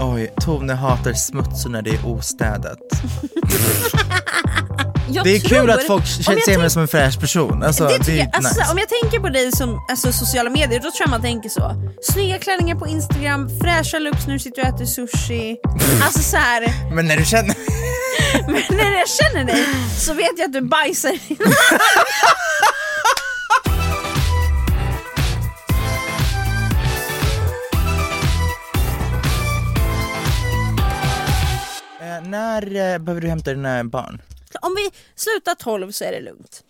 Oj, Tone hatar smuts och när det är ostädat. Jag Det är kul tror- att folk om ser jag ser mig tänk- som en fräsch person. Alltså, det det, tycker är jag, alltså, nice. Om jag tänker på dig som alltså, sociala medier, då tror jag man tänker så. Snygga klänningar på Instagram, fräscha looks när du sitter och äter sushi. Alltså så här, Men när du känner... men när jag känner dig så vet jag att du bajsar. Eh, när eh, behöver du hämta dina barn? Om vi slutar 12 så är det lugnt.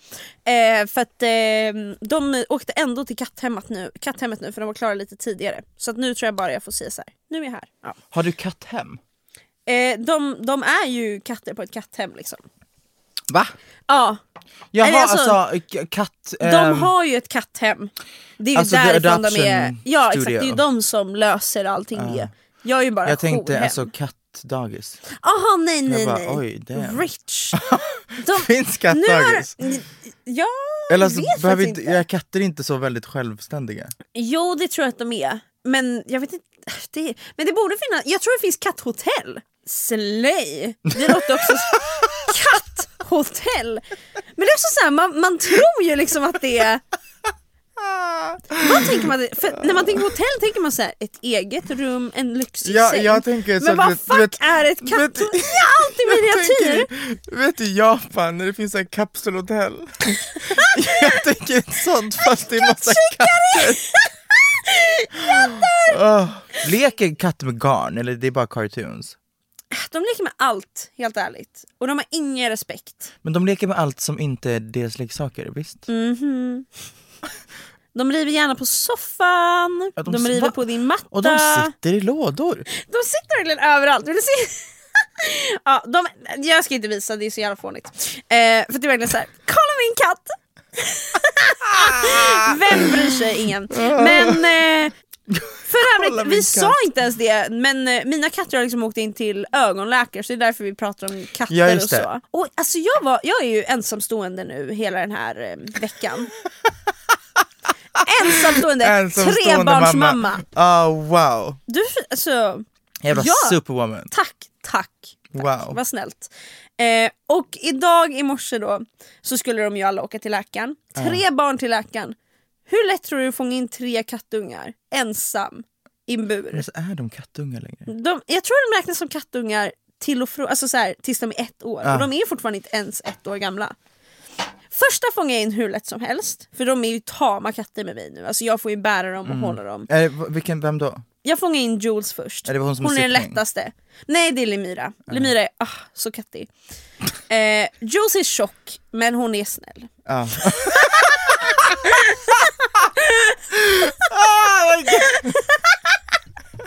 Eh, för att eh, de åkte ändå till katthemmet nu, katthemmet nu för de var klara lite tidigare. Så att nu tror jag bara jag får säga så här. nu är jag här. Ja. Har du katthem? Eh, de, de är ju katter på ett katthem liksom. Va? Ja, Jaha, Eller alltså, alltså, k- katt... de ehm, har ju ett katthem. Det är ju Alltså, the därifrån de är. adoption Ja exakt, det studio. är ju de som löser allting det. Jag är ju bara jag tänkte jourhem. alltså kattdagis. Aha, nej nej bara, nej. oj, damn. Rich. Finns nu har- kattdagis? Ja, Eller jag alltså, vet behöver faktiskt inte, inte. Är katter inte så väldigt självständiga? Jo, det tror jag att de är. Men jag vet inte. Det, men det borde finnas. Jag tror det finns katthotell. Slay! Det låter också... katthotell! Men det är också så här, man, man tror ju liksom att det är... Vad tänker man? För när man tänker hotell tänker man så här, ett eget rum, en lyxig Ja, säng. jag tänker så Men här, vad du vet- fuck du vet- är ett du katthotell? vet- Jag har alltid miniatyr! Jag tänker, vet du Japan när det finns en kapselhotell? jag tänker ett sånt fast det är massa katter. Åh. Leker katter med garn eller det är bara cartoons? De leker med allt, helt ärligt. Och de har ingen respekt. Men de leker med allt som inte är deras leksaker, visst? Mm, De river gärna på soffan, Ja, de, de- river va? på din matta. Och de sitter i lådor. De sitter verkligen överallt. Vill du se? ja, de, jag ska inte visa, det är så jävla fånigt. Eh, för det är verkligen så här, kolla min katt! Vem bryr sig? Ingen. Men eh, för Kolla övrigt, min vi sa katt. inte ens det, men eh, mina katter har liksom åkt in till ögonläkare så det är därför vi pratar om katter Ja, och just det. så. Och, alltså, jag, var, jag är ju ensamstående nu hela den här eh, veckan. ensamstående, trebarnsmamma. Ah wow. Du, alltså, Jävla Ja. superwoman. Tack, tack. tack. Wow. Vad snällt. Eh, och idag i morse då så skulle de ju alla åka till läkaren. Tre barn till läkaren. Hur lätt tror du att fånga in tre kattungar ensam i en bur? Men så är de kattungar längre? De, jag tror de räknas som kattungar till och från, alltså så här, tills de är ett år. Ja. Och de är ju fortfarande inte ens ett år gamla. Första fångar jag in hur lätt som helst, för de är ju tama katter med mig nu. Alltså jag får ju bära dem och hålla dem. Eh, v- vilken, vem då? Jag fångar in Jules först. Är det hon som är är den sittning? lättaste. Nej det är Lemira. Lemira är ah, så kattig. Eh, Jules är tjock men hon är snäll. Ah.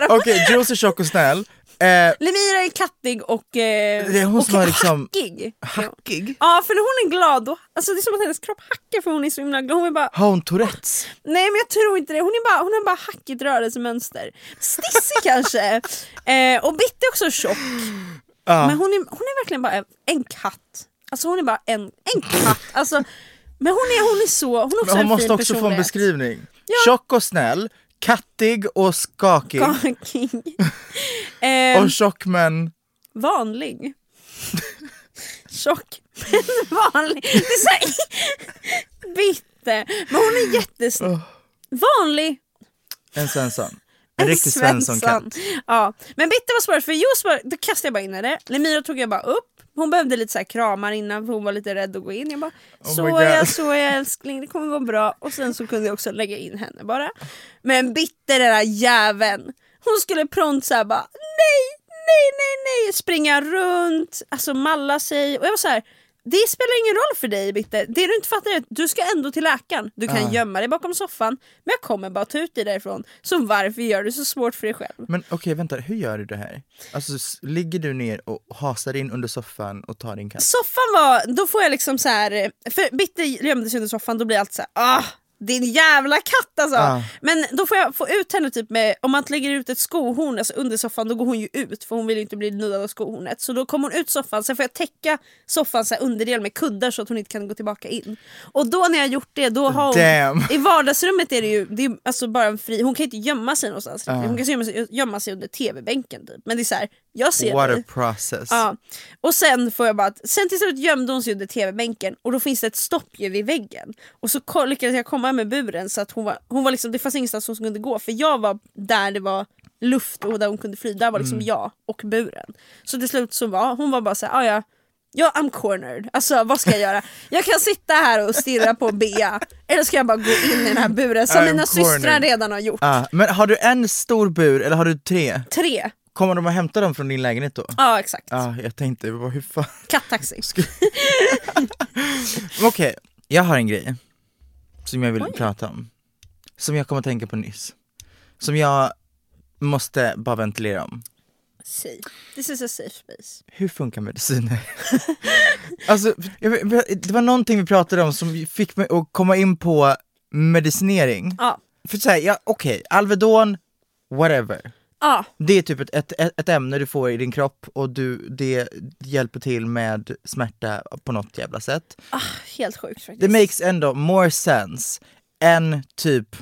Okej, Jules är tjock och snäll. Eh, Lemira är kattig och, eh, Det är hon och som har liksom- hackig. hackig? Ja, för när hon är glad, då, alltså det är som att hennes kropp hackar för hon är så himla glad. Hon är bara, Har hon Tourettes? nej men jag tror inte det. Hon, är bara, hon har bara hackigt rörelsemönster. Stissig kanske. Eh, och Bitte är också tjock. Men hon är, hon är verkligen bara en, en katt. Alltså hon är bara en, en katt. Alltså, men hon är, hon är så, hon är också Men hon en fin måste också få en personlighet. beskrivning. Tjock och snäll, kattig och skakig. King. eh, Och tjock men... vanlig. Tjock men vanlig. Det är så här, bitte. Men hon är jättesnäll. Vanlig. En Svensson. En En riktig Svensson-katt. Ja. Men bitte var svårt för Jos var- då kastade jag bara in henne. Lemira tog jag bara upp. Hon behövde lite så här kramar innan för hon var lite rädd att gå in. Jag bara Oh my så God. jag, så jag älskling det kommer gå bra. Och sen så kunde jag också lägga in henne bara. Men bitte den där jäveln. Hon skulle prompt såhär bara nej, nej, nej, nej. Springa runt, alltså malla sig. Och jag var så här. Det spelar ingen roll för dig Bitte, det du inte fattar är att du ska ändå till läkaren. Du Ah. kan gömma dig bakom soffan, men jag kommer bara ta ut dig därifrån. Så varför gör du så svårt för dig själv? Men okej, vänta, hur gör du det här? Alltså, s- ligger du ner och hasar in under soffan och tar din katt? Soffan var, då får jag liksom så här för Bitte gömde sig under soffan, då blir jag alltid så här, ah, din jävla katt alltså. Ah. Men då får jag få ut henne typ med, om man lägger ut ett skohorn alltså under soffan då går hon ju ut för hon vill ju inte bli nuddad av skohornet. Så då kommer hon ut soffan, sen får jag täcka soffan så här underdel med kuddar så att hon inte kan gå tillbaka in. Och då när jag gjort det, då har hon, Damn. i vardagsrummet är det ju det är alltså bara en fri, hon kan inte gömma sig någonstans. Hon kan gömma sig, gömma sig under tv-bänken typ. Men det är så här, jag ser What a dig. process. Ja. Och sen får jag bara att, sen till slut gömde hon sig under tv-bänken och då finns det ett stopp ju vid väggen. Och så ko- lyckades jag komma med buren så att hon var, hon var liksom, det fanns ingenstans hon kunde gå för jag var där det var luft och där hon kunde fly. Där var Mm. liksom jag och buren. Så till slut så var hon var bara såhär, ja Ja, I'm cornered. Alltså vad ska jag göra? Jag kan sitta här och stirra på Bea, eller ska jag bara gå in i den här buren som I'm mina systrar cornered. redan har gjort? Ah, men har du en stor bur eller har du tre? Tre. Kommer de att hämta dem från din lägenhet då? Ja, exakt. Ja, jag tänkte, vad- hur fan? Kattaxi. Okej, jag har en grej som jag vill prata om. Som jag kom att tänka på nyss. Som jag måste bara ventilera om. Safe. This is a safe space. Hur funkar mediciner? alltså, jag, det var någonting vi pratade om som fick mig att komma in på medicinering. Ja. För såhär, ja, okej, Alvedon, whatever. Ja, Det är typ ett, ett, ett ämne du får i din kropp och du, det hjälper till med smärta på något jävla sätt. helt sjukt faktiskt. Det makes ändå more sense än typ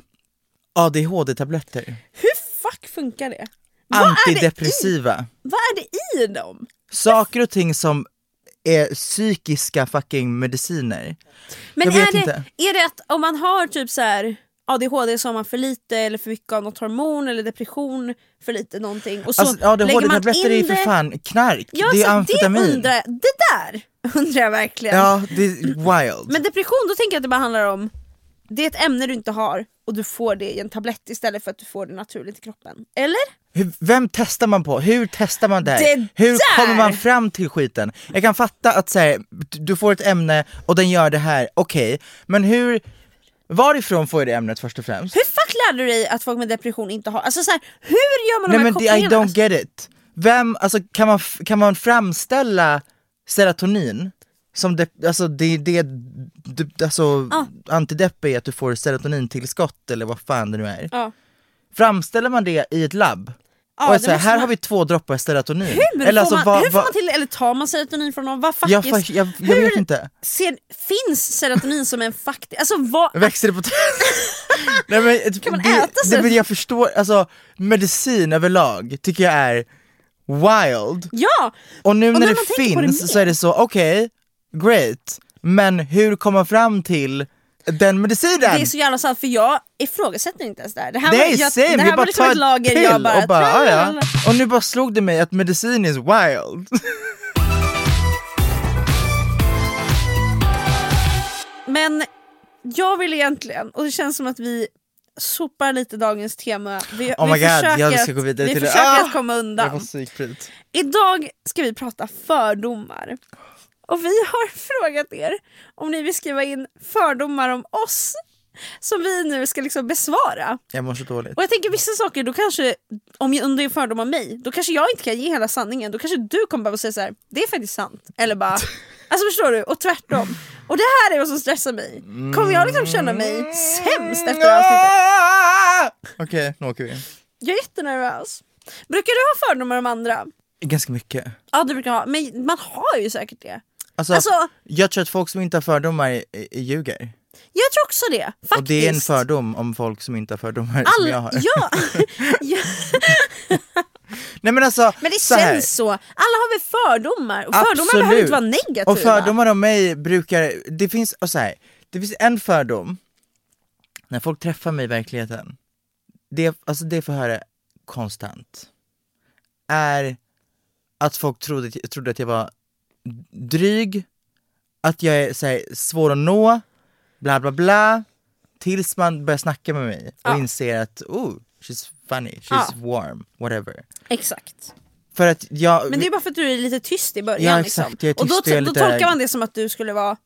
ADHD-tabletter. Hur fuck funkar det? Antidepressiva. Vad är det i dem? Saker och ting som är psykiska fucking mediciner. Men Jag vet är, det, inte. är det att om man har typ så här ADHD så har man för lite eller för mycket av något hormon eller depression, för lite någonting och så Alltså lägger man ADHD-tabletter är ju in för det... fan knark, ja, det är alltså, det, amfetamin. undrar, det där undrar jag verkligen. Ja, det är wild. Men depression, då tänker jag att det bara handlar om det är ett ämne du inte har och du får det i en tablett istället för att du får det naturligt i kroppen. Eller? Hur, vem testar man på? Hur testar man det? här? Det Hur där! kommer man fram till skiten? Jag kan fatta att så här, du får ett ämne och den gör det här, okej, men hur, varifrån får jag det ämnet först och främst? Hur fuck lärde du dig att folk med depression inte har... Alltså så här, hur gör man de Nej här men det, I kopplingarna? don't get it. Vem, alltså kan man, f- kan man framställa serotonin? Som de, alltså det, det, det alltså antidepp är att du får serotonintillskott eller vad fan det nu är. Ja. Framställer man det i ett labb? Ja, och det så här, måste här man- har vi två droppar serotonin. Hur, eller får, man, hur får man till Eller tar man serotonin från någon? Vad alltså, Jag, faktiskt, fa- jag, jag hur vet inte. Ser, finns serotonin som en faktisk... Alltså vad... Växer det på Nej, men, eh, typ, Kan man det, äta det, serotonin? men jag förstår, alltså medicin överlag tycker jag är wild. Ja! Och nu Och när när det man tänker på det finns mer. så är det så, okej, great. Men hur kommer man fram till den medicinen? Det är så jävla sant för jag ifrågasätter inte ens det här. Det här Nej, var, jag, same, det det här är var bara liksom ta ett lager pill jag bara... och bara "Ah, ja. Och nu bara slog det mig att medicin is wild. Men jag vill egentligen, och det känns som att vi sopar lite dagens tema. Vi, Oh vi my god, försöker jag ska att- gå vidare vi till det. försöker Ah! att komma Jag undan. får psykbryt. Idag ska vi prata fördomar. Och vi har frågat er om ni vill skriva in fördomar om oss som vi nu ska liksom besvara. Jag mår så dåligt. Och jag tänker vissa saker, då kanske, om, jag, om det är fördom av mig, då kanske jag inte kan ge hela sanningen. Då kanske du kommer behöva säga så här: det är faktiskt sant. Eller bara, alltså förstår du? Och tvärtom. Och det här är vad som stressar mig. Kommer jag liksom känna mig sämst efter avsnittet? Ah! Okej, nu åker vi. Jag är jättenervös. Brukar du ha fördomar om andra? Ganska mycket. Ja det brukar jag ha, men man har ju säkert det. Alltså, Alltså- jag tror att folk som inte har fördomar eh, eh, ljuger. Jag tror också det, faktiskt. Och det är en fördom om folk som inte har fördomar som All- jag har. ja, ja, Nej men alltså, men det så här. känns så. Alla har väl fördomar? Och fördomar behöver inte vara negativa. Och fördomar om mig brukar, det finns, och så här, det finns en fördom när folk träffar mig i verkligheten. Det, alltså det får jag höra konstant. Är att folk trodde, att- trodde att jag var dryg, att jag är så här, svår att nå, bla bla bla. Tills man börjar snacka med mig och inser att oh, she's funny, she's Ja. warm, whatever. Exakt. För att jag, Men det är bara för att du är lite tyst i början. Ja, exakt. liksom. Jag är och då, tyst och jag är då lite- tolkar man det som att du skulle vara...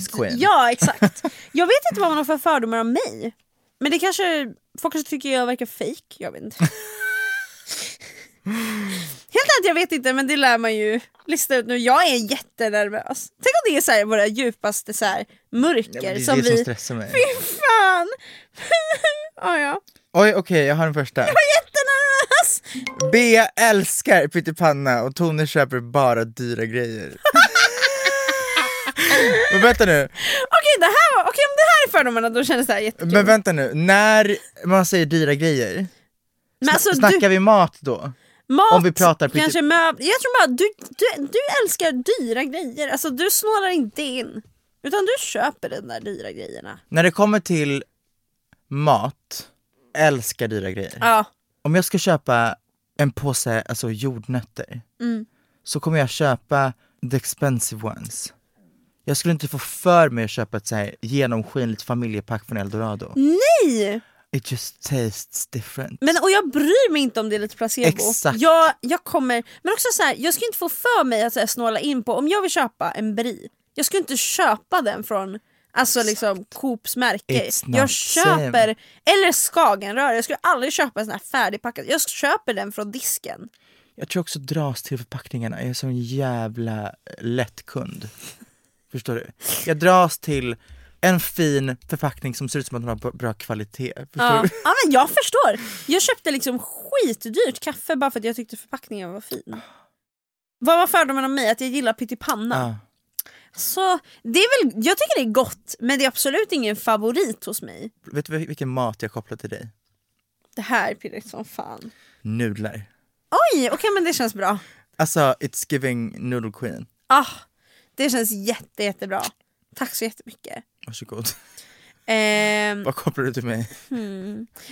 Ice Queen. Ja, exakt. Jag vet inte vad man har för fördomar om mig. Men det kanske... Folk kanske tycker jag verkar fake. Jag vet inte. Helt ärligt, jag vet inte, men det lär man ju lista ut nu. Jag är jättenervös. Tänk om det är så här, våra djupaste så här, mörker det är som det som vi... stressar mig. Fy fan! ja, ja. Oj, okej, jag har den första. Jättenervös! Bea älskar pyttipanna och Tone köper bara dyra grejer. Men vänta nu, Okej, det här var... Okej, om det här är fördomarna, då kändes det här jättekul. men vänta nu, när man säger dyra grejer, Men alltså, snackar vi mat då? Mat, Om vi pratar pytte- kanske möbler. Jag tror bara du, du, du älskar dyra grejer. Alltså du snålar inte in. Utan du köper de där dyra grejerna. När det kommer till mat, älskar dyra grejer. Ja. Om jag ska köpa en påse alltså jordnötter, Mm. så kommer jag köpa the expensive ones. Jag skulle inte få för mig att köpa ett så här genomskinligt familjepack från Eldorado. Nej! It just tastes different. Men, och jag bryr mig inte om det är lite placebo. Exakt. Jag, jag kommer, men också så här, jag skulle inte få för mig att så här, snåla in på, om jag vill köpa en brie, jag skulle inte köpa den från Alltså liksom Coops märke. It's not Jag same. köper, eller Skagenrör, jag skulle aldrig köpa en sån här färdigpackad. Jag köper den från disken. Jag tror också dras till förpackningarna. Jag är sån jävla lätt kund. Förstår du? Jag dras till en fin förpackning som ser ut som att den har b- bra kvalitet. Förstår Ja. du? ja men jag förstår. Jag köpte liksom skitdyrt kaffe bara för att jag tyckte förpackningen var fin. Vad var fördomen om mig? Att jag gillar pyttipanna? Ja. Så det är väl, jag tycker det är gott men det är absolut ingen favorit hos mig. Vet du vil- vilken mat jag kopplar till dig? Det här pirrar som fan. Nudlar. Oj, okej men det känns bra. Alltså, it's giving noodle queen. Ah, det känns jätte, jättebra. Tack så jättemycket. Varsågod. Ehm, Vad kopplar du till mig?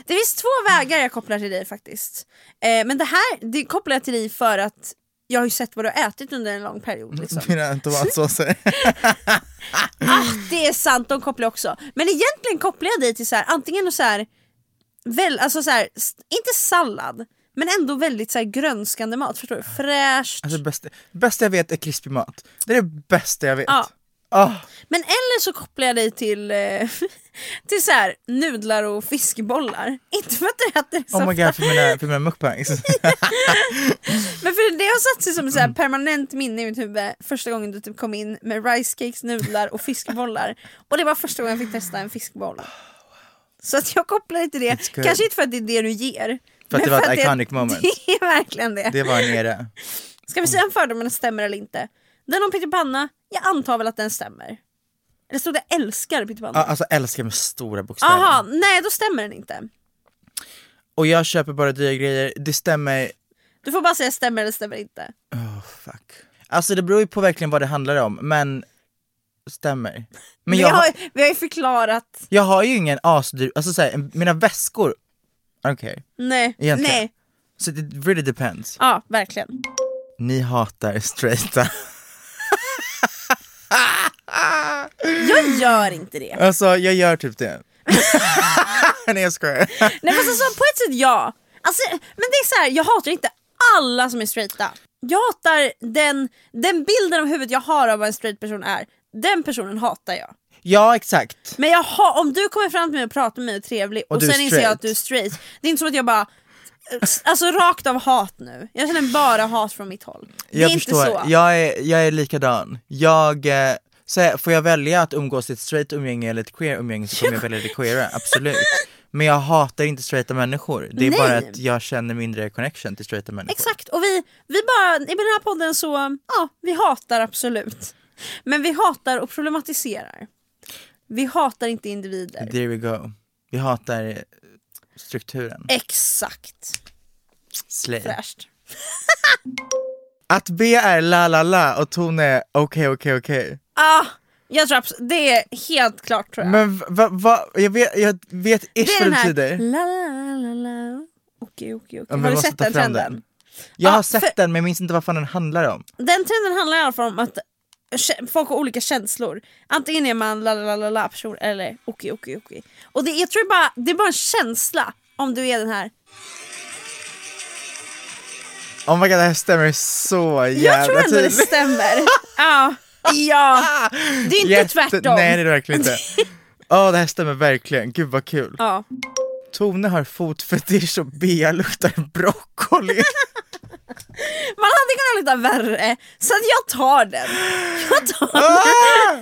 Det finns två vägar jag kopplar till dig faktiskt. Eh, men det här det kopplar jag till dig för att jag har ju sett vad du har ätit under en lång period. Liksom. Mina tomatsåser. Ah, det är sant, de kopplar jag också. Men egentligen kopplar jag dig till så här, antingen så här, väl, alltså så här, s- inte sallad, men ändå väldigt så här grönskande mat. Förstår du? Fräscht. Alltså, bästa, bästa jag vet är krispig mat. Det är det bästa jag vet. Ja. Ah, Men eller så kopplar jag dig till, eh, till så här, nudlar och fiskbollar. Inte för att du äter det så oh my ofta, god, för mina, för mina mukbangs. Men för det har satt sig som ett så Mm. här permanent minne i mitt huvud första gången du typ kom in med ricecakes, nudlar och fiskbollar. Och det var första gången jag fick testa en fiskboll. Så att jag kopplar inte det, Ah, It's good. kanske inte för att det är det du ger. För att men det var ett att iconic moment. Det är verkligen det. Det var en era. Ska vi se om fördomarna stämmer eller inte? Den om pyttipanna, jag antar väl att den stämmer. Eller stod det älskar Ja, pyttipanna? Alltså älskar med stora bokstäver. Aha, nej då stämmer den inte. Och jag köper bara dyra grejer, det stämmer. Du får bara säga stämmer eller stämmer inte. Oh, fuck. Alltså det beror ju på verkligen vad det handlar om, men stämmer. Men vi, jag, har, har, vi har ju förklarat. jag har ju ingen asdyr, alltså såhär, en- mina väskor, okej. Nej. Egentligen. Nej. Så det really depends. Ja, verkligen. Ni hatar straighta. Jag gör inte det. Alltså jag gör typ det. Nej jag skojar. Nej men alltså, på ett sätt ja. Alltså, men det är så här, jag hatar inte alla som är straighta. Jag hatar den, den bilden av huvudet jag har av vad en straight person är. Den personen hatar jag. Ja exakt. Men jaha, om du kommer fram till mig och pratar med mig och är trevlig och, Och du är sen inser jag straight. att du är straight. Det är inte som att jag bara Alltså rakt av hat nu. Jag känner bara hat från mitt håll. Det jag är förstår. inte så. Jag är, jag är likadan. Jag, eh, så här, får jag välja att umgås i ett straight umgänge eller ett queer umgänge så kommer jag välja det queera, absolut. Men jag hatar inte straighta människor, det är Nej. bara att jag känner mindre connection till straighta människor. Alltså. Exakt, och vi, vi bara, i den här podden så, ja, vi hatar absolut. Men vi hatar och problematiserar. Vi hatar inte individer. There we go. Vi hatar eh, strukturen. Exakt. Slay. Fräscht. Att B är la la la och ton är okej okej okej. Ah, jag tror abs- det är helt klart tror jag. Men va- va, va, jag vet, jag vet det ish vad det är den här, Mm. betyder. la la la la. Okej, okej, okej. men Har jag du måste sett ta den fram trenden? Jag Ja, har sett för- den men jag minns inte vad fan den handlar om. Den trenden handlar i alla fall om att kä- folk har olika känslor. Antingen är man la la la la la person eller okej okej okej. Och det, jag tror bara, det är bara en känsla om du är den här Oh my god det här stämmer så Jag tror jävla ändå det tydligt. stämmer. ja. ja, det är inte tvärtom. Nej det är det verkligen inte. Ja det här stämmer verkligen, gud vad kul. ja. Tone har fotfetisch och Bea luktar broccoli. Man hade kunnat lukta värre, så att jag tar den. Jag tar den. ah!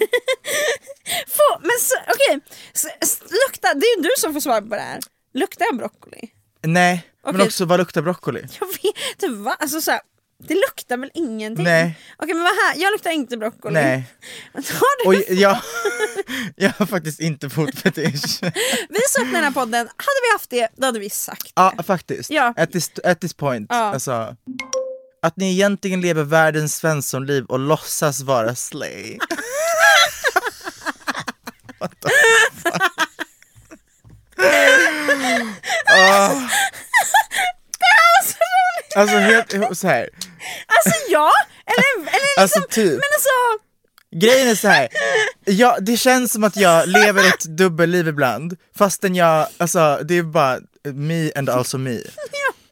Få, men så- okej, Så- s- lukta, det är ju du som får svara på det här. Luktar jag broccoli? Nej, men Okej. också vad luktar broccoli? Jag vet inte, va? Alltså, så här, det luktar väl ingenting? Nej. Okej men vad här, jag luktar inte broccoli. Nej, Men Har du, och jag, jag har faktiskt inte fotfetisch. Vi som öppnar den här podden, hade vi haft det då hade vi sagt det. Ja faktiskt, Ja. At, this, at this point. Ja. Alltså, att ni egentligen lever världens svenssonliv och låtsas vara slay. What the fuck? Ah. Alltså helt så här. Alltså ja, eller, eller liksom, Alltså, typ. men alltså grejen är så här. Ja, det känns som att jag lever ett dubbelliv ibland, fastän jag, alltså det är bara me and also me.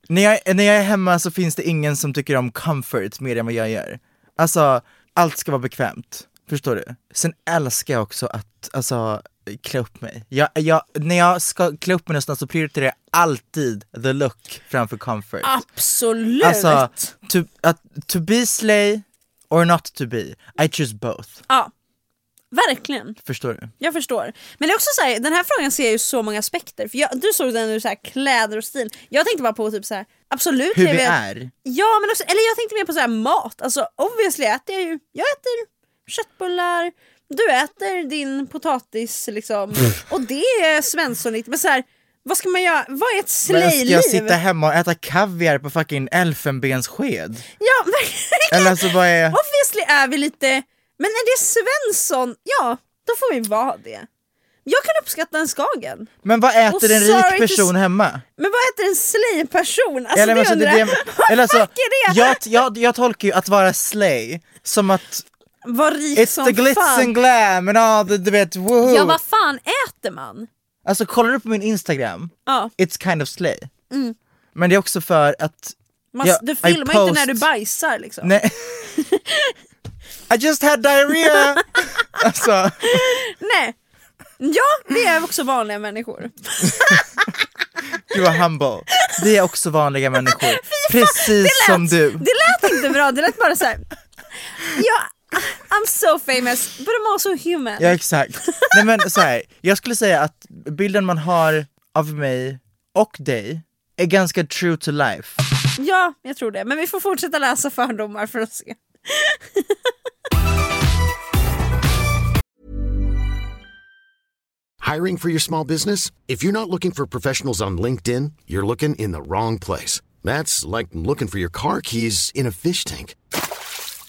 När jag, när jag är hemma så finns det ingen som tycker om comfort mer än vad jag gör. Alltså, allt ska vara bekvämt. Förstår du? Sen älskar jag också att, alltså, klä upp mig. Jag, jag, när jag ska klä upp mig någonstans så prioriterar jag alltid the look framför comfort. absolut. Alltså, to, att, to be slay or not to be, I choose both. Ja, verkligen. Förstår du? Jag förstår. Men det är också så här, den här frågan ser ju så många aspekter. För jag, du såg den ur så här, kläder och stil. Jag tänkte bara på typ så här, absolut Hur lever vi jag- är. Ja, men också, eller jag tänkte mer på så här, mat. Alltså obviously äter jag ju, jag äter köttbullar, du äter din potatis liksom. Och det är svenssonigt. Men så här, vad ska man göra? Vad är ett Men ska slöjliv? jag sitta hemma och äta kaviar på fucking elfenbenssked? Ja, verkligen. Eller alltså vad är... Obviously är vi lite, men är det Svensson, ja då får vi vara det. Jag kan uppskatta en Skagen. Men vad äter en sorry rik to person hemma? Men vad heter en slay-person? men Alltså det alltså, det- undrar jag. det- Vad eller alltså, fuck är det? Jag, jag, jag tolkar ju att vara slay som att Vad rik it's som the glitz fan. and glam and all the, du vet, woohoo. Ja vad fan äter man? Alltså kollar du på min instagram, Ja, it's kind of slay. Mm. Men det är också för att man, Ja, du I filmar ju inte när du post. bajsar liksom. Nej. I just had diarrhea! alltså, Nej. Ja, det är också vanliga människor. du var humble. Vi är också vanliga människor. Precis som du. Det lät inte bra, det lät bara så här. Ja, I'm so famous but I'm also human. Ja exakt. Nej men så här, jag skulle säga att bilden man har av mig och dig är ganska true to life. Ja, jag tror det. Men vi får fortsätta läsa fördomar för att se. Hiring for your small business? If you're not looking for professionals on LinkedIn, you're looking in the wrong place. That's like looking for your car keys in a fish tank.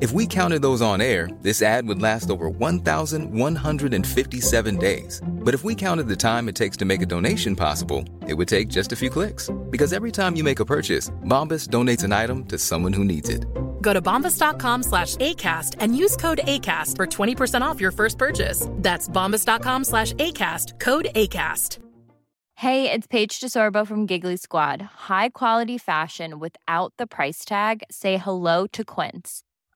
If we counted those on air, this ad would last over 1,157 days. But if we counted the time it takes to make a donation possible, it would take just a few clicks. Because every time you make a purchase, Bombas donates an item to someone who needs it. Go to bombas.com slash ACAST and use code ACAST for 20% off your first purchase. That's bombas.com slash ACAST, code ACAST. Hey, it's Paige DeSorbo from Giggly Squad. High quality fashion without the price tag. Say hello to Quince.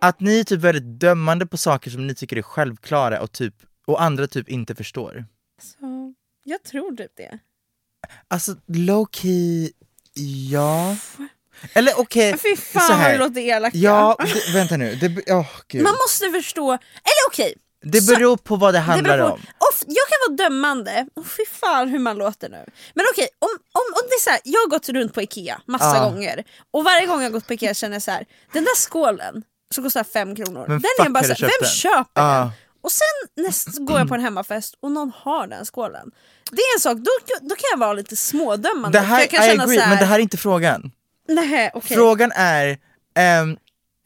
Att ni är typ väldigt dömande på saker som ni tycker är självklara och, typ, och andra typ inte förstår. Så, jag tror typ det. Alltså low key, ja. Eller okej, Fy fan så här. vad det låter elakt. Ja, det, vänta nu. Det, be- åh, gud. Man måste förstå, eller okej. det beror på vad det handlar beror på- om. Of, jag kan vara dömande, oh, fy fan hur man låter nu. Men okej, om, om, om det är så här, jag har gått runt på Ikea massa Ja. gånger och varje gång jag har gått på Ikea känner jag så här, den där skålen som kostar 5 kronor, Men den fuck, är bara hade så här, köpt vem den?" köper den? Ja. Och sen näst går jag på en hemmafest och någon har den skålen. Det är en sak, då, då kan jag vara lite smådömande. Det för här, jag kan I känna agree, så här, men det här är inte frågan. nej, okej. Frågan är ehm,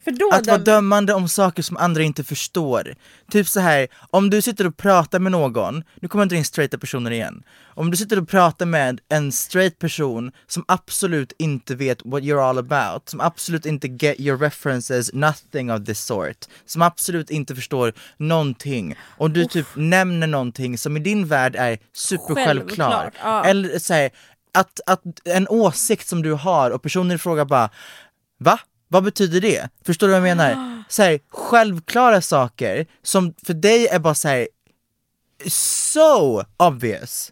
för då att vara dömer- dömande om saker som andra inte förstår. Typ så här, om du sitter och pratar med någon, nu kommer jag dra in straighta personer igen. Om du sitter och pratar med en straight person som absolut inte vet what you're all about, som absolut inte get your references, nothing of this sort, som absolut inte förstår någonting, och du typ nämner någonting som i din värld är supersjälvklar. Självklart, ja. Eller så här, att, att en åsikt som du har och personer frågar bara Va? Vad betyder det? Förstår du vad jag menar? Så här, självklara saker som för dig är bara så här so obvious.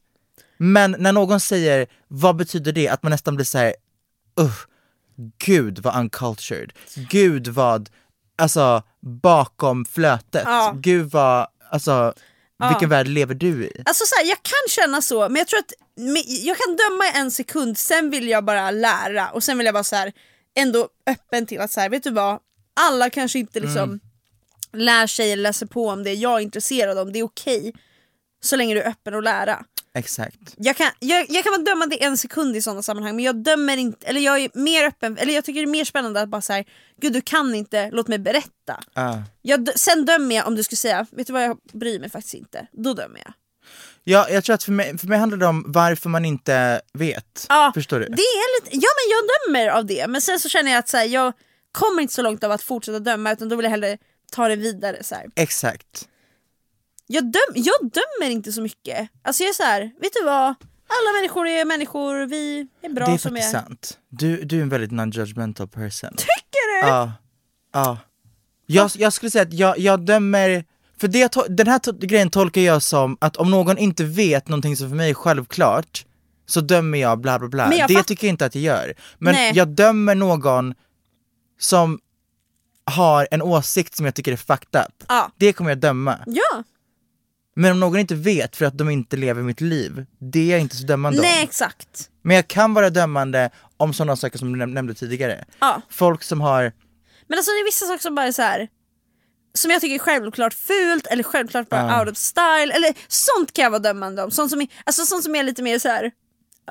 Men när någon säger vad betyder det? Att man nästan blir så här uh, gud vad uncultured. Gud vad, alltså bakom flötet. Ja. Gud vad, alltså vilken värld lever du i? Alltså så här, jag kan känna så, men jag tror att men jag kan döma i en sekund, sen vill jag bara lära och sen vill jag vara så här, ändå öppen till att så här, vet du vad, alla kanske inte liksom Mm. lär sig eller läser på om det jag är intresserad om, det är okej. Så länge du är öppen och lära. Exakt. Jag kan, jag, jag kan vara dömande i en sekund i sådana sammanhang men jag dömer inte, eller jag är mer öppen, eller jag tycker det är mer spännande att bara säga gud du kan inte, låt mig berätta. Ja. Jag, dö- sen dömer jag om du skulle säga, vet du vad jag bryr mig faktiskt inte, då dömer jag. Ja, jag tror att för mig, för mig handlar det om varför man inte vet. Ja, Förstår du? Det är lite, ja men jag dömer av det, men sen så känner jag att så här, jag kommer inte så långt av att fortsätta döma utan då vill jag hellre ta det vidare. Så här. Exakt. Jag, döm, jag dömer inte så mycket. Alltså jag är så här, vet du vad? Alla människor är människor, vi är bra det är som vi faktiskt är. sant. Du, du är en väldigt non-judgmental person. Tycker du? Ja. ja. Jag, jag skulle säga att jag, jag dömer, för det, jag to- den här to- grejen tolkar jag som att om någon inte vet någonting som för mig är självklart så dömer jag bla bla bla. Men jag det fatt- tycker jag inte att jag gör. Men Nej. jag dömer någon som har en åsikt som jag tycker är fucked up. Ja. Det kommer jag döma. Ja, Men om någon inte vet för att de inte lever mitt liv, det är jag inte så dömande om. nej exakt. Men jag kan vara dömande om sådana saker som du näm- nämnde tidigare. Ja. Folk som har, Men alltså det är vissa saker som bara är så här. Som jag tycker är självklart fult eller självklart bara out of style. Eller sånt kan jag vara dömande om. Sånt som är, alltså, sånt som är lite mer så här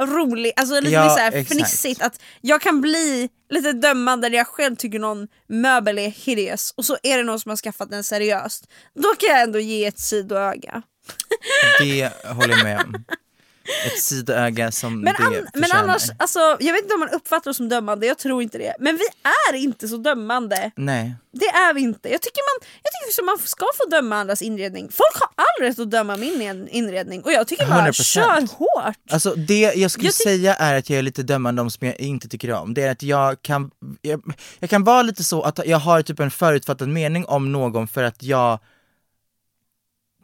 rolig, alltså lite Ja, mer så här exakt. fnissigt. Att jag kan bli lite dömande när jag själv tycker någon möbel är hideous och så är det någon som har skaffat den seriöst. Då kan jag ändå ge ett sidoöga. det håller jag med om. Ett sidoöga som Men, det an- men förtjänar. annars, alltså, jag vet inte om man uppfattar oss som dömande, jag tror inte det. Men vi är inte så dömande. Nej. Det är vi inte. Jag tycker, man, jag tycker också man ska få döma andras inredning. Folk har all rätt att döma min in- inredning och jag tycker bara 100%. kör hårt. Alltså det jag skulle Jag ty- säga är att jag är lite dömande om som jag inte tycker om. Det är att jag kan, jag, jag kan vara lite så att jag har typ en förutfattad mening om någon för att jag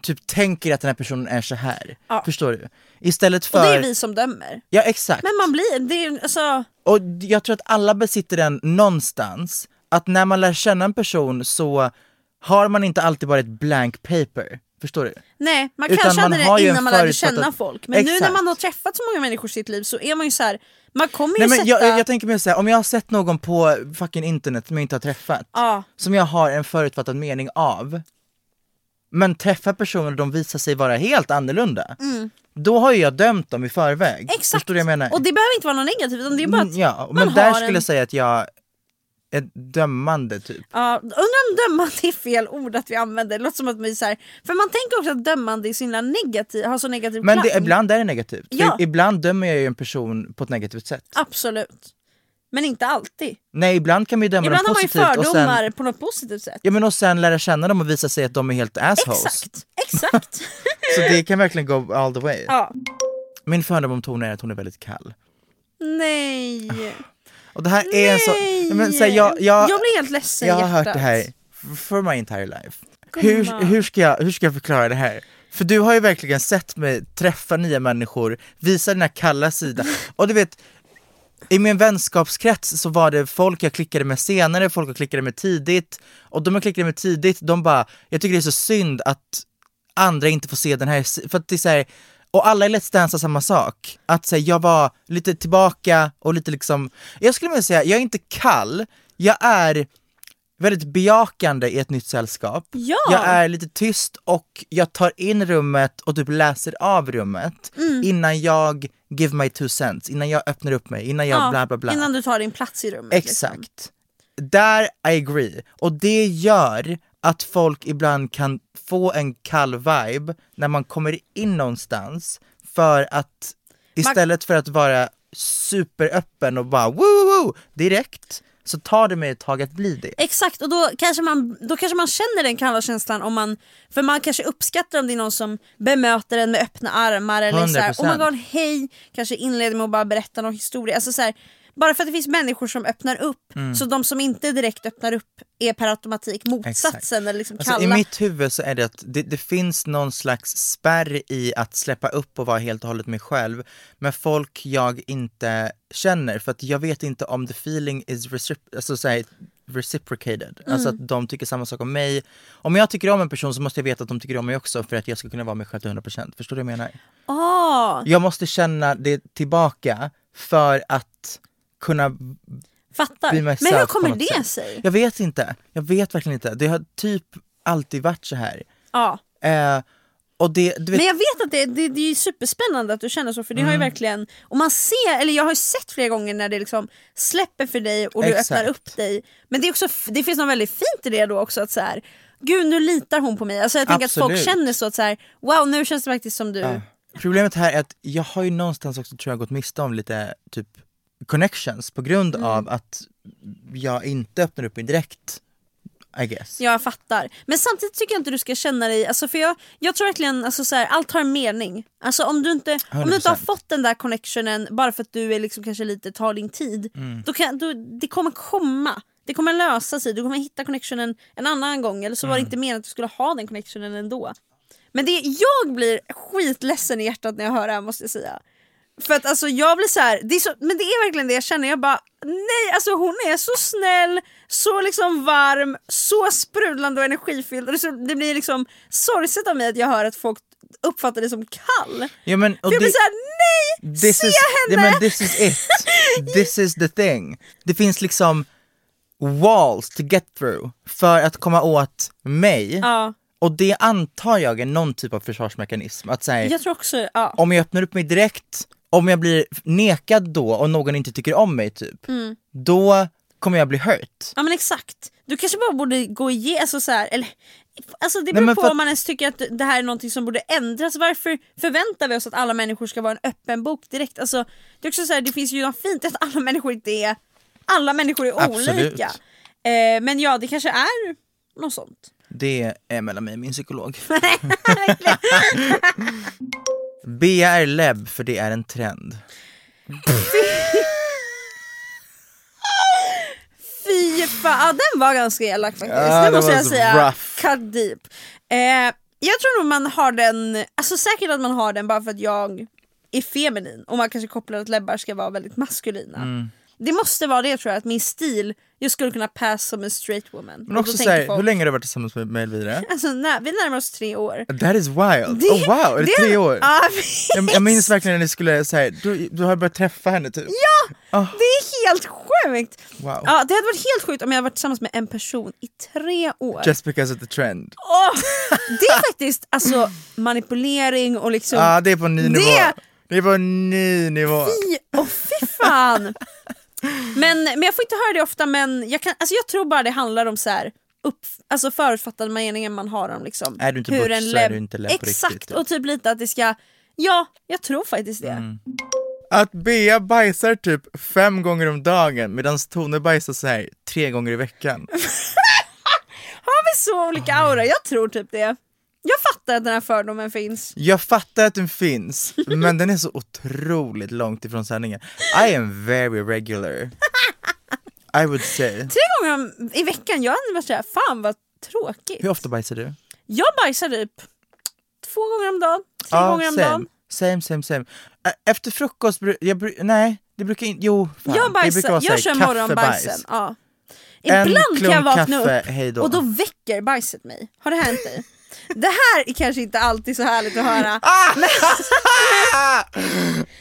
typ tänker att den här personen är så här. Ja. Förstår du? Istället för... Och det är vi som dömer. Ja exakt. Men man blir, det är, alltså, Och d- jag tror att alla besitter den någonstans, att när man lär känna en person så har man inte alltid bara ett blank paper. Förstår du? Nej, man Utan kanske man hade har det ju innan en man lärde förutfattad- känna folk. Men nu när Exakt. man har träffat så många människor i sitt liv så är man ju så här. man kommer ju Nej, men sätta... jag, jag tänker mer såhär, om jag har sett någon på fucking internet som jag inte har träffat, Ja. som jag har en förutfattad mening av, men träffar personer och de visar sig vara helt annorlunda, då har ju jag dömt dem i förväg. Mm. Exakt! Förstår du vad jag menar? Och det behöver inte vara något negativt utan det är bara att Mm, ja, man men där har skulle en... jag säga att jag är dömande typ. Ja, undrar om dömande är fel ord att vi använder. Det låter som att vi så här, för man tänker också att dömande är så himla negativ, har så negativ Men klang. det, ibland är det negativt. För Ja. Ibland dömer jag ju en person på ett negativt sätt. Absolut. Men inte alltid. Nej, ibland kan man ju döma Ibland dem har man ju positivt och fördomar sen, på något positivt sätt. ja, men och sen lära känna dem och visa sig att de är helt assholes. Exakt, exakt. Så det kan verkligen gå all the way. ja. Min fördom om Tone är att hon är väldigt kall. Nej. Och det här är en så... Nej, Men, så här, jag, jag, jag blir helt ledsen i jag har hört hjärtat. det här f- for my entire life. Hur, hur, ska jag, hur ska jag förklara det här? För du har ju verkligen sett mig träffa nya människor, visa dina kalla sida. Och du vet, i min vänskapskrets så var det folk jag klickade med senare, folk jag klickade med tidigt. Och de jag klickade med tidigt, de bara, jag tycker det är så synd att andra inte får se den här, si- för att det är så här, och alla i Let's Dance har samma sak. Att säga, jag var lite tillbaka och lite liksom, jag skulle vilja säga, jag är inte kall, jag är väldigt bejakande i ett nytt sällskap. Ja. Jag är lite tyst och jag tar in rummet och typ läser av rummet Mm. innan jag give my two cents, innan jag öppnar upp mig, innan jag Ja, bla bla bla. Innan du tar din plats i rummet. liksom. Exakt. Där I agree. Och det gör att folk ibland kan få en kall vibe när man kommer in någonstans för att istället för att vara superöppen och bara woo, woo, woo direkt så tar det mig ett tag att bli det. Exakt och då kanske, man, då kanske man känner den kalla känslan om man, för man kanske uppskattar om det är någon som bemöter en med öppna armar eller såhär 100%. oh my god hej, kanske inleder med att bara berätta någon historia. Alltså så här, bara för att det finns människor som öppnar upp Mm. så de som inte direkt öppnar upp är per automatik motsatsen Exakt. eller liksom Alltså, I kalla. mitt huvud så är det att det, det finns någon slags spärr i att släppa upp och vara helt och hållet mig själv med folk jag inte känner för att jag vet inte om the feeling is recipro- alltså, så här, reciprocated, alltså Mm. att de tycker samma sak om mig. Om jag tycker om en person så måste jag veta att de tycker om mig också för att jag ska kunna vara mig själv till 100%, förstår du vad jag menar? Ah, Jag måste känna det tillbaka för att kunna fattar. bli Men myself hur på kommer något det sätt. sig? Jag vet inte, jag vet verkligen inte. Det har typ alltid varit så här. Ja. Eh, och det, du vet, Mm. Men jag vet att det, det, det är ju superspännande att du känner så för det har ju verkligen, och man ser, eller jag har ju sett flera gånger när det liksom släpper för dig och du Exakt. öppnar upp dig. Men det, är också, f- det finns något väldigt fint i det då också att så här, gud nu litar hon på mig. Alltså jag tänker att folk Absolut. känner så att så här, wow nu känns det faktiskt som du. problemet här är att jag har ju någonstans också tror jag gått miste om lite typ connections på grund Mm. av att jag inte öppnar upp mig direkt. I guess. Ja, jag fattar. Men samtidigt tycker jag inte du ska känna dig, alltså för jag, jag tror verkligen alltså så här, allt har en mening. Alltså om du, inte, om du inte har 100%. fått den där connectionen bara för att du är liksom kanske lite tar din tid, då kan, då, det kommer komma. Det kommer lösa sig, du kommer hitta connectionen en annan gång eller så var det inte meningen att du skulle ha den connectionen ändå. Men det, jag blir skitledsen i hjärtat när jag hör det här måste jag säga. För att alltså jag blir så här, det är så, men det är verkligen det jag känner, jag bara nej alltså hon är så snäll, så liksom varm, så sprudlande och energifylld och det, är så, det blir liksom sorgset av mig att jag hör att folk uppfattar det som kall. Ja, men, och För jag blir det- såhär nej, This se is, henne! Ja, men this is it. This is the thing. Det finns liksom walls to get through för att komma åt mig. Ja. Och det antar jag är någon typ av försvarsmekanism. Att säga, Jag tror också, ja. om jag öppnar upp mig direkt, om jag blir nekad då och någon inte tycker om mig typ, Mm. då kommer jag bli hurt. Ja men exakt. Du kanske bara borde gå igenom, alltså så här, eller Alltså det Nej, beror men på för att- om man ens tycker att det här är någonting som borde ändras. Varför förväntar vi oss att alla människor ska vara en öppen bok direkt? Alltså, det, är också så här, det finns ju något fint i att alla människor inte är... Alla människor är Absolut. olika. Eh, men ja, det kanske är något sånt. Det är mellan mig och min psykolog. Bea är leb för det är en trend. Fy fan, ja, den var ganska elak faktiskt. Ja, det den måste var jag så säga. rough. Cut deep. Eh, jag tror nog man har den, alltså säkert att man Mm. har den bara för att jag är feminin och man kanske kopplar att läbbar ska vara väldigt maskulina. Det måste vara det tror jag, att min stil, jag skulle kunna passa som en straight woman. Men Och också då så tänker här, folk- hur länge har du varit tillsammans med, med Elvira? Alltså när, vi närmar oss tre år. That is wild! oh wow, är det, tre år? Ja, jag, jag minns verkligen när ni skulle säga, du, du har börjat träffa henne typ. det är helt sjukt! Wow. Ja, det hade varit helt sjukt om jag hade varit tillsammans med en person i tre år. Just because of the trend. Åh, det är faktiskt alltså, manipulering och liksom... Ja, ah, det är på en ny Det- nivå. Det är på en ny nivå. Fy, oh, fy fan! Men, men jag får inte höra det ofta men jag, kan, alltså jag tror bara det handlar om så här, upp, alltså förutfattade meningen man har om liksom, Är du inte butch så är du inte läpp på Exakt, riktigt, typ. och typ lite att det ska, ja jag tror faktiskt det. Mm. Att Bea bajsar typ fem gånger om dagen medan Tone bajsar så här tre gånger i veckan. Har vi så olika aura? Jag tror typ det. Jag fattar att den här fördomen finns. Jag fattar att den finns, men den är så otroligt långt ifrån sanningen. I am very regular. I would say. Tre gånger om, i veckan, jag hade varit såhär, fan vad tråkigt. Hur ofta bajsar du? Jag bajsar typ två gånger om dagen, tre Ja, gånger om same. dagen. Same, same, same. Ä- Efter frukost, bru- jag bru- nej, det brukar inte, jo fan. Jag det brukar bajsar, vara så här jag kör kaffebajs. morgonbajsen. Ja. En Ibland kan jag klunk vakna kaffe, upp hej då. och då väcker bajset mig. Har det hänt dig? Det här är kanske inte alltid så härligt att höra. Ah! Men,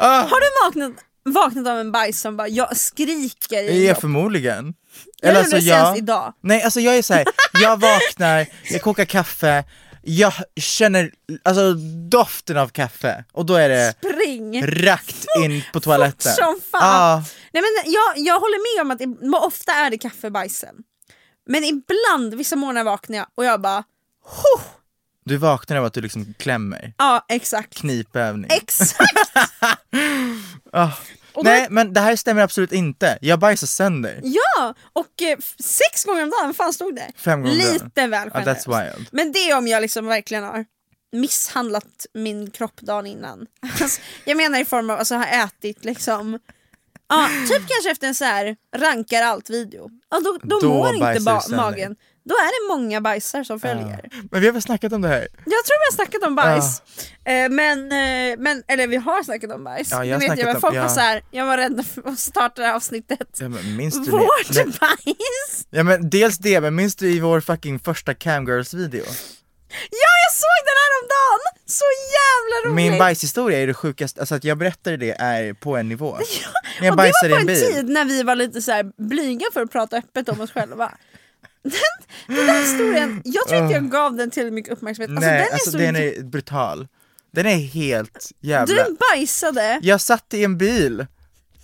har du vaknat, vaknat av en bajs som bara jag skriker i Ja, kroppen? förmodligen. alltså, Jag gjorde det senast idag. Nej, alltså jag är så här, jag vaknar, jag kokar kaffe, jag känner alltså doften av kaffe och då är det Spring! rakt in på toaletten. Fort som fan! Ja, Nej, men jag, jag håller med om att det, ofta är det kaffebajsen. Men ibland, vissa morgnar vaknar jag och jag bara Ho! du vaknar av att du liksom klämmer, Ja exakt. knipövning. Exakt! och då- Nej men det här stämmer absolut inte, jag bajsar sönder. Ja! Och eh, f- sex gånger om dagen, vad fan stod det? Fem gånger om dagen. Lite väl Ja, generöst. that's wild. Men det är om jag liksom verkligen har misshandlat min kropp dagen innan. Alltså, jag menar i form av, alltså har ätit liksom Ja, typ kanske efter en så här rankar allt video. Ja, då, då, Då mår inte bajsar ba- du sönder. magen. Då är det många bajsar som följer. Men vi har väl snackat om det här? Jag tror vi har snackat om bajs. Eh, men, eh, men, eller vi har snackat om bajs. Ja, jag jag har vet jag, snackat men om- folk var ja. så här, jag var rädd för att starta det här avsnittet. Ja, men minns du Vårt det? Men- bajs! Ja men dels det, men minns du i vår fucking första camgirls-video? Ja, jag såg den här om dagen. Så jävla roligt! Min bajshistoria är det sjukaste, alltså att jag berättade det är på en nivå. När Och jag det bajsade var i en på en bil. tid när vi var lite så här blyga för att prata öppet om oss själva. Den, den där historien, jag tror inte jag gav den tillräckligt mycket uppmärksamhet. Alltså, Ah. Nej, den är alltså så den är brutal. Den är helt jävla... Du bajsade! Jag satt i en bil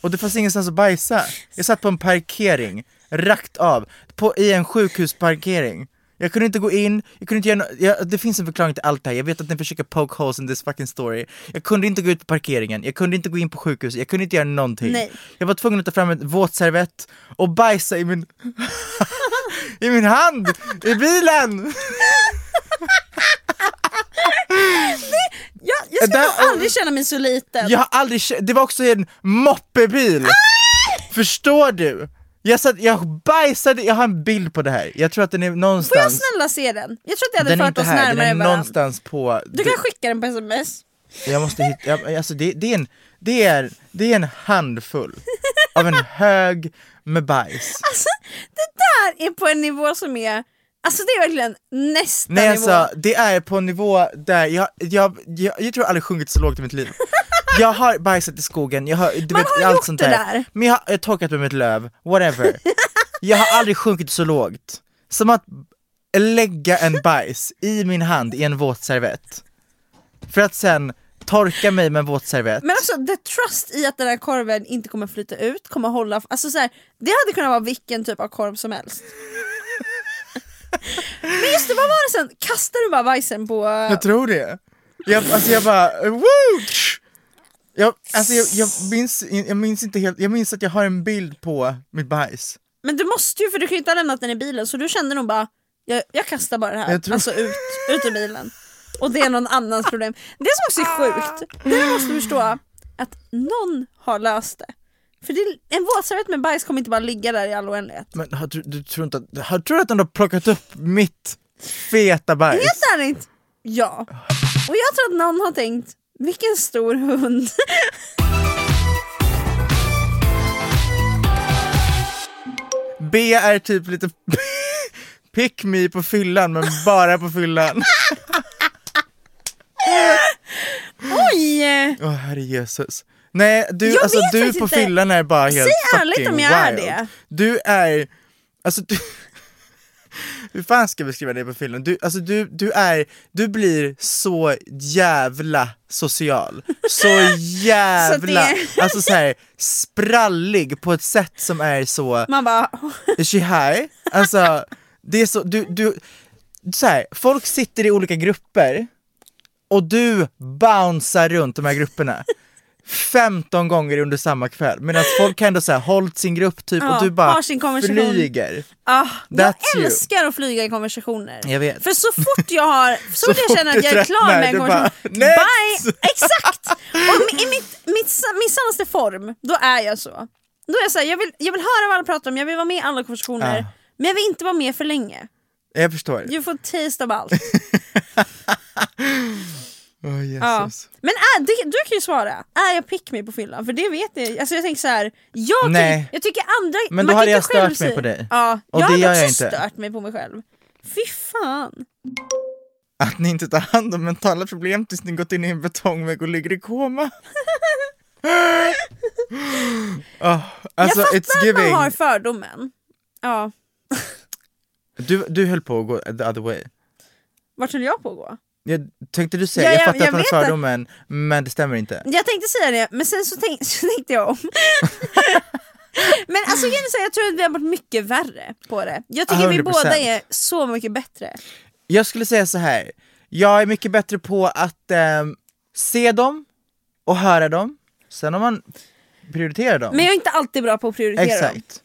och det fanns ingenstans att bajsa. Jag satt på en parkering, rakt av, på, i en sjukhusparkering. Jag kunde inte gå in, jag kunde inte göra no- jag, det finns en förklaring till allt det här, jag vet att ni försöker poke holes in this fucking story. Jag kunde inte gå ut på parkeringen, jag kunde inte gå in på sjukhuset, jag kunde inte göra någonting. Nej. Jag var tvungen att ta fram en våtservett och bajsa i min, i min hand, i bilen! Jag, jag ska Äh, Där- nog aldrig känna mig så liten. Jag har aldrig kä- det var också en moppebil! Ah! Förstår du? Jag, satt, jag bajsade, jag har en bild på det här, jag tror att den är Får jag någonstans snälla se den? Jag tror att det Den hade är fört inte oss här, den närmare är varandra. någonstans på... Du kan skicka den på sms. jag måste hitta, jag, alltså det, det, är en, det, är, det är en handfull av en hög med bajs Alltså, det där är på en nivå som är... Alltså det är verkligen nästa Nej nivå. alltså, det är på en nivå där jag, jag, jag, jag tror jag aldrig sjungit så lågt i mitt liv Jag har bajsat i skogen, jag har, du Man vet, har allt gjort sånt det där. där. Men jag har, jag har torkat mig med ett löv, whatever Jag har aldrig sjunkit så lågt Som att lägga en bajs i min hand i en våtservett För att sen torka mig med en våtservett Men alltså the trust i att den här korven inte kommer flyta ut, kommer hålla... Alltså så här, det hade kunnat vara vilken typ av korv som helst. Men just det, vad var det sen? Kastar du bara bajsen på... Jag tror det. Jag, alltså jag bara, woo! Jag, alltså jag, jag, minns, jag minns inte helt, jag minns att jag har en bild på mitt bajs. Men du måste ju för du kan ju inte ha lämnat den i bilen så du kände nog bara jag, jag kastar bara det här, Jag tror- alltså ut, ut ur bilen. Och det är någon annans problem. Det som också är sjukt, det här måste du förstå, att någon har löst det. För det, en våtservett med bajs kommer inte bara ligga där i all oändlighet. Men har, du, du tror inte att, har, tror du att den har plockat upp mitt feta bajs? Helt ärligt, ja. Och jag tror att någon har tänkt, vilken stor hund. B är typ lite pick me på fyllan men bara på fyllan. Oj! Åh herre Jesus. Nej, du, Jag alltså, vet du faktiskt på inte. fyllan är bara helt Säg ärligt fucking om jag är wild. det. Du är, alltså du, hur fan ska jag beskriva dig på fyllan? Du, alltså, du, du är, du blir så jävla social. Så jävla, det- alltså så här, sprallig på ett sätt som är så, Man bara, Is she high? Alltså, det är så, du, du, så här, folk sitter i olika grupper och du bouncear runt de här grupperna 15 gånger under samma kväll medan folk har ändå så här, hållit sin grupp typ Ja, och du bara har sin konversation. flyger. ah, jag That's you. älskar att flyga i konversationer. Jag vet. För så fort jag har, så fort jag fort känner du att jag är klar tröttnar, med en du konversation, bara, "Next!" bye! Exakt! Och i mitt, mitt, sa- min sannaste form, då är jag så. Då är jag så här, jag vill, jag vill höra vad alla pratar om, jag vill vara med i alla konversationer, Ja. men jag vill inte vara med för länge. Jag förstår. You får taste of allt. Åh, Ja. Jesus. Men är, det, du kan ju svara, är jag pick me på fyllan? För det vet ni, alltså jag tänker så här, jag, ty- Nej. jag tycker andra... Men man då hade kan jag inte själv stört mig se- på dig. Ja, Och jag det hade gör också jag inte. stört mig på mig själv. Fy fan. Att ni inte tar hand om mentala problem tills ni gått in i en betongvägg och ligger i koma. Åh, alltså, jag it's fattar att giving. man har fördomen. Ja, Du, du höll på att gå the other way. vart höll jag på att gå? Jag tänkte du säga, Ja, jag jag- fattar jag att man vet har att- fördomen, men det stämmer inte. Jag tänkte säga det, men sen så, tänk, så tänkte jag om. men alltså grejen är så här, jag tror att vi har varit mycket värre på det. Jag tycker vi 100%. båda är så mycket bättre. Jag skulle säga så här. jag är mycket bättre på att ehm, se dem och höra dem, sen om man prioriterar dem. Men jag är inte alltid bra på att prioritera dem. Exakt.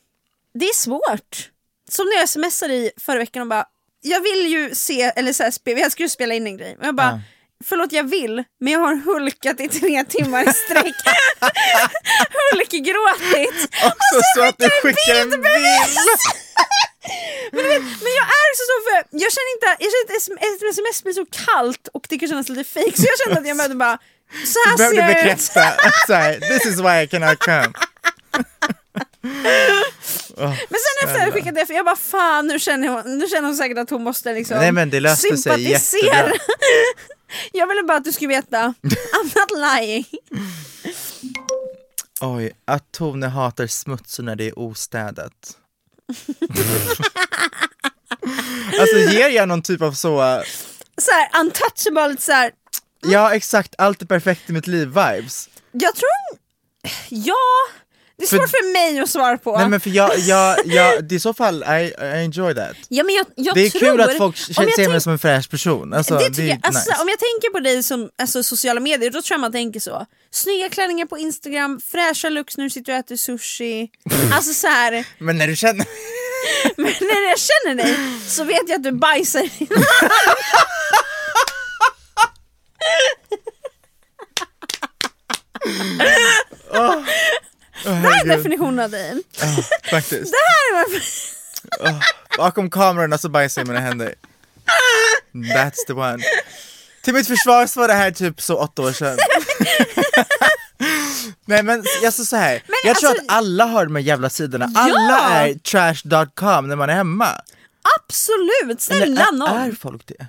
det är svårt. Som när jag smsade i förra veckan och bara, jag vill ju se, eller så här, spe, jag skulle spela in en grej, men jag bara, förlåt jag vill, men jag har hulkat i tre timmar i sträck. Hulkgråtit. Också så att du skickar en bild! Men jag är också så för, jag känner inte, jag känner att sm- ett sms blir så kallt och det kan kännas lite fejk, så jag kände att jag behövde bara, så här Du behövde ser Alltså, jag ut. bekräfta, så här, this is why I cannot come. Men sen efter att jag skickade det, för jag bara fan nu känner hon, nu känner hon säkert att hon måste liksom Nej, men det löste sig sympatisera. jättebra. jag ville bara att du skulle veta, I'm not lying. Oj, att Tone hatar smuts och när det är ostädat. alltså ger jag någon typ av så, Såhär untouchable, lite såhär, ja exakt, allt är perfekt i mitt liv vibes. jag tror, ja, det är svårt för, mig att svara på. Nej men för jag, jag, jag det är i så fall, I, I enjoy that. ja, men jag, jag det är tror, kul att folk om känner, jag ser mig tänk- som en fräsch person. Alltså, det det, tycker är jag, alltså, nice. Om jag tänker på dig som alltså, sociala medier, då tror jag man tänker så. Snygga klänningar på Instagram, fräscha looks när du sitter och äter sushi. alltså såhär, Men när du känner, Men när jag känner dig så vet jag att du bajsar i din hand. oh, Det är definitionen av dig. faktiskt. Här är varför- Bakom kamerorna så bajsar jag i mina händer. That's the one. Till mitt försvar så var det här typ så åtta år sedan. Nej men alltså så här. jag tror alltså- att alla har de här jävla sidorna. Alla Ja! är trash.com när man är hemma. Absolut, Eller snälla nån. är, är folk det?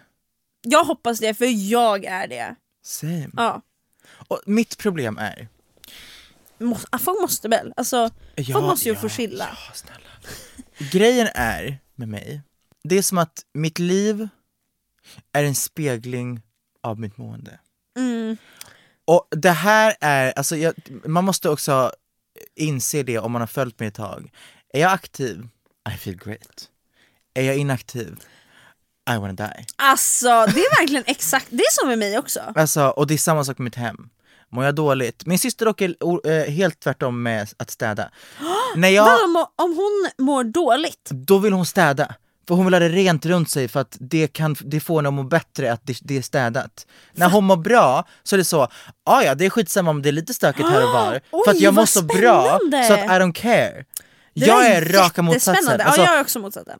Jag hoppas det för jag är det. Same. Ja. Och mitt problem är, Må- ah, Folk måste väl, alltså, Ja, folk måste ju ja, få chilla. Ja, snälla. Grejen är med mig, det är som att mitt liv är en spegling av mitt mående. Mm. Och det här är, alltså jag, man måste också inse det om man har följt mig ett tag. Är jag aktiv? I feel great. Är jag inaktiv? I wanna die. Alltså det är verkligen exakt, det är som med mig också. Alltså, och det är samma sak med mitt hem. Mår jag dåligt? Min syster dock är o- eh, helt tvärtom med att städa. När jag... Vadå, om, om hon mår dåligt? då vill hon städa. För hon vill ha det rent runt sig för att det, kan, det får henne att må bättre att det, det är städat. När hon mår bra så är det så, ah ja det är skitsamma om det är lite stökigt här och var. Oj, för att jag mår vad så bra spännande. så att I don't care. Det jag där är raka motsatsen. jättespännande. Alltså, ja, jag... jag är också motsatsen.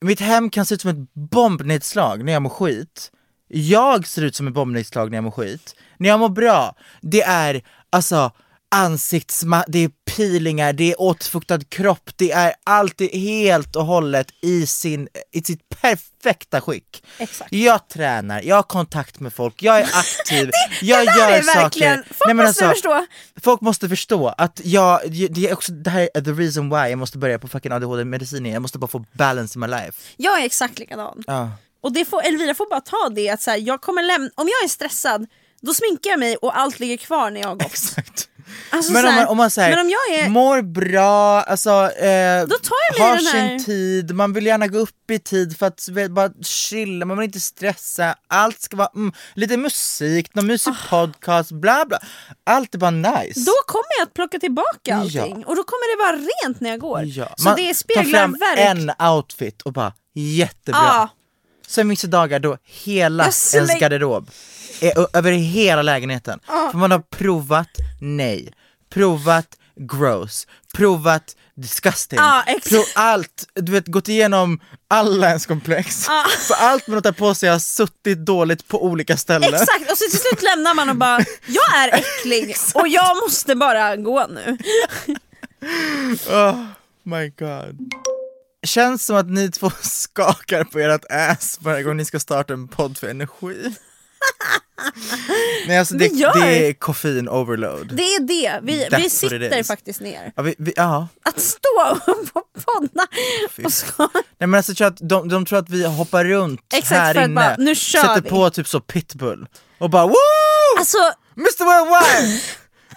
mitt hem kan se ut som ett bombnedslag när jag mår skit. Jag ser ut som ett bombnedslag när jag mår skit. När jag mår bra, det är alltså ansiktsma, det är peelingar, det är återfuktad kropp, det är allt det är helt och hållet i, sin, i sitt perfekta skick. Exakt. Jag tränar, jag har kontakt med folk, jag är aktiv, jag det där gör är verkligen- saker. alltså, folk måste förstå. Folk måste förstå att jag, det, är också, det här är the reason why jag måste börja på fucking ADHD-medicin igen, jag måste bara få balance in my life. Jag är exakt likadan. Ja. Och det får, Elvira får bara ta det att så här, jag kommer lämna, om jag är stressad då sminkar jag mig och allt ligger kvar när jag har gått. Exakt. Alltså, men, så om här- man, om man säger, men om jag är... mår bra, alltså, eh, Då tar jag mig har den här- sin tid, man vill gärna gå upp i tid för att vet, bara chilla, man vill inte stressa, allt ska vara mm, lite musik, någon mysig podcast, bla bla. Allt är bara nice. Ah. Då kommer jag att plocka tillbaka allting Ja. och då kommer det vara rent när jag går. Ja, Så man det tar speglar fram verkligen... en outfit och bara jättebra. Ja, Sen vissa dagar då hela Jag släng- ens garderob är ö- över hela lägenheten. För man har provat nej, provat gross, provat disgusting, Ja, ex- prov allt, du vet gått igenom alla ens komplex. För allt man har tagit på sig har suttit dåligt på olika ställen. exakt! Och så till slut lämnar man och bara, jag är äcklig och jag måste bara gå nu. Oh my god. Känns som att ni två skakar på ert ass varje gång ni ska starta en podd för energi. Nej alltså det, Vi gör- det är koffein overload. Det är det, vi, vi That's what it sitter is. faktiskt ner. Ja, vi, vi, ja. Att stå upp och podda och så... Nej men alltså tror jag att de, de tror att vi hoppar runt Exakt, här för att inne, bara, nu kör sätter vi. på typ så pitbull och bara woo! Alltså Mr Worldwide!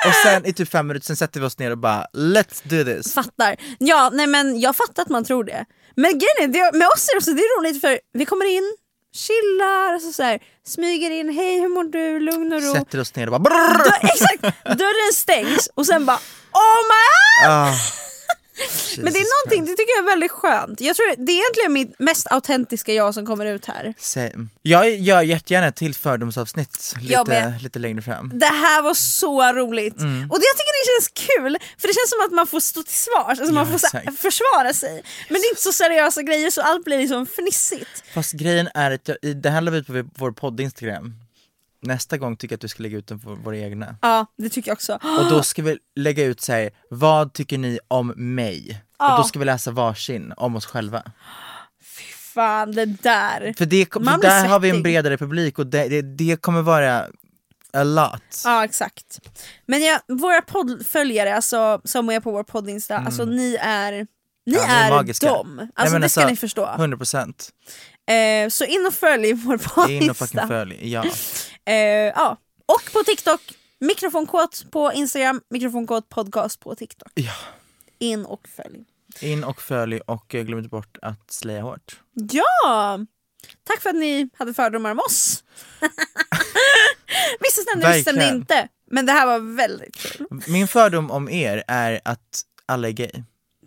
och sen i typ fem minuter, sen sätter vi oss ner och bara let's do this. fattar. Ja, nej men jag fattar att man tror det. Men grejen är, det, med oss är det också det är roligt för vi kommer in, chillar, alltså så här, smyger in, hej hur mår du, lugn och ro. Sätter oss ner och bara brrrr. Dör, exakt! Dörren stängs och sen bara oh my Ah, Men det Jesus är någonting, det tycker jag är väldigt skönt. Jag tror det är egentligen mitt mest autentiska jag som kommer ut här. Same. Jag gör jättegärna ett till fördomsavsnitt Jag lite, med. lite längre fram. Det här var så roligt! Och det, jag tycker det känns kul, för det känns som att man får stå till svars, alltså man får så här, exakt. försvara sig. Men det är inte så seriösa grejer så allt blir liksom fnissigt. Fast grejen är att jag, i- det här la vi ut på vår podd Instagram. Nästa gång tycker jag att du ska lägga ut den på våra egna. Ja, det tycker jag också. Och då ska vi lägga ut så här, vad tycker ni om mig? Och då ska vi läsa varsin om oss själva. Fan det där. För, det, kom- Man för blir där har vi en svettig. bredare publik och det, det, det kommer vara a lot. Ja exakt. Men jag, våra poddföljare alltså, som är på vår poddinsta, alltså ni är, ni Mm. Ja, ni är, magiska. dem. Nej, Alltså det men ska ni förstå. 100%. Eh, så in och följ vår In och fucking poddinsta. följ. Ja. Eh, ja. Och på TikTok, mikrofonkåt på Instagram, mikrofonkåt podcast på TikTok. Ja. In och följ. In och följ och eh, glöm inte bort att slaya hårt. Ja! Tack för att ni hade fördomar om oss. vissa stämde, vissa stämde Verkligen. inte. Men det här var väldigt kul. Min fördom om er är att alla är gay.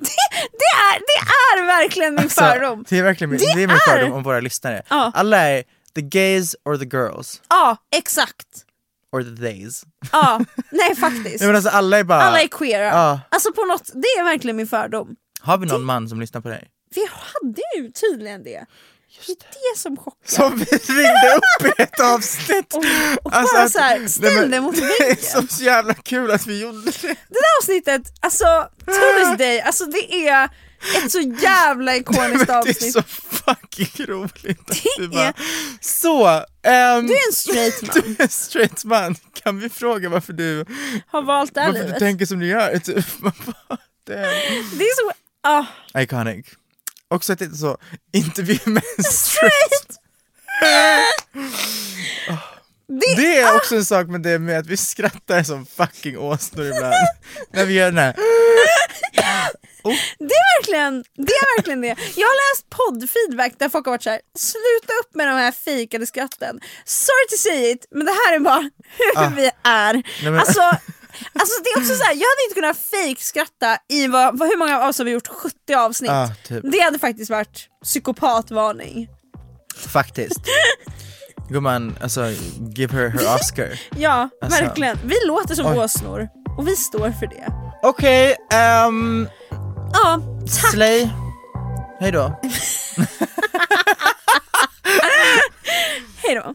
Det är, det är verkligen min Alltså, fördom. Det är verkligen min, det Det är min är- fördom om våra lyssnare. Ja. Alla är the gays or the girls. Ja, exakt. Or the theys. Ja, nej faktiskt. Nej, men alltså alla är bara... Alla är queera. Ja. Alltså på något, det är verkligen min fördom. Har vi någon man som lyssnar på det här? Vi hade ju tydligen det. det är det som chockar. Som vi ringde upp i ett avsnitt! Och, och bara Alltså att- så här, nej, ställ men dig mot Det är väggen. så, så jävla kul att vi gjorde det! Det där avsnittet, alltså Tuesday, alltså det är ett så jävla Men ikoniskt det är avsnitt. så fucking roligt! att Det vi bara, är- Så! ehm, Du är en straight man, du är en straight man, kan vi fråga varför du, har valt det här varför du livet. tänker som du gör? Typ, man bara, damn. Det är så... ah, Iconic. Också att det är så, intervju med en straight straight! Det, Det är också en sak med det med att vi skrattar som fucking åsnor ibland. När vi gör den här. det, är verkligen, det är verkligen det. Jag har läst poddfeedback där folk har varit så här: sluta upp med de här fejkade skratten. Sorry to say it, men det här är bara hur vi är. Ah. men- Alltså, alltså det är också så här, jag hade inte kunnat fejkskratta i vad, vad, hur många avsnitt vi gjort, 70 avsnitt. Ah, typ. Det hade faktiskt varit psykopatvarning. Faktiskt. Gumman, alltså give her her Oscar. Ja, Alltså. verkligen. Vi låter som Oj. åsnor och vi står för det. Okej, ehm, Ja, tack! slay. Hej då. Hej då.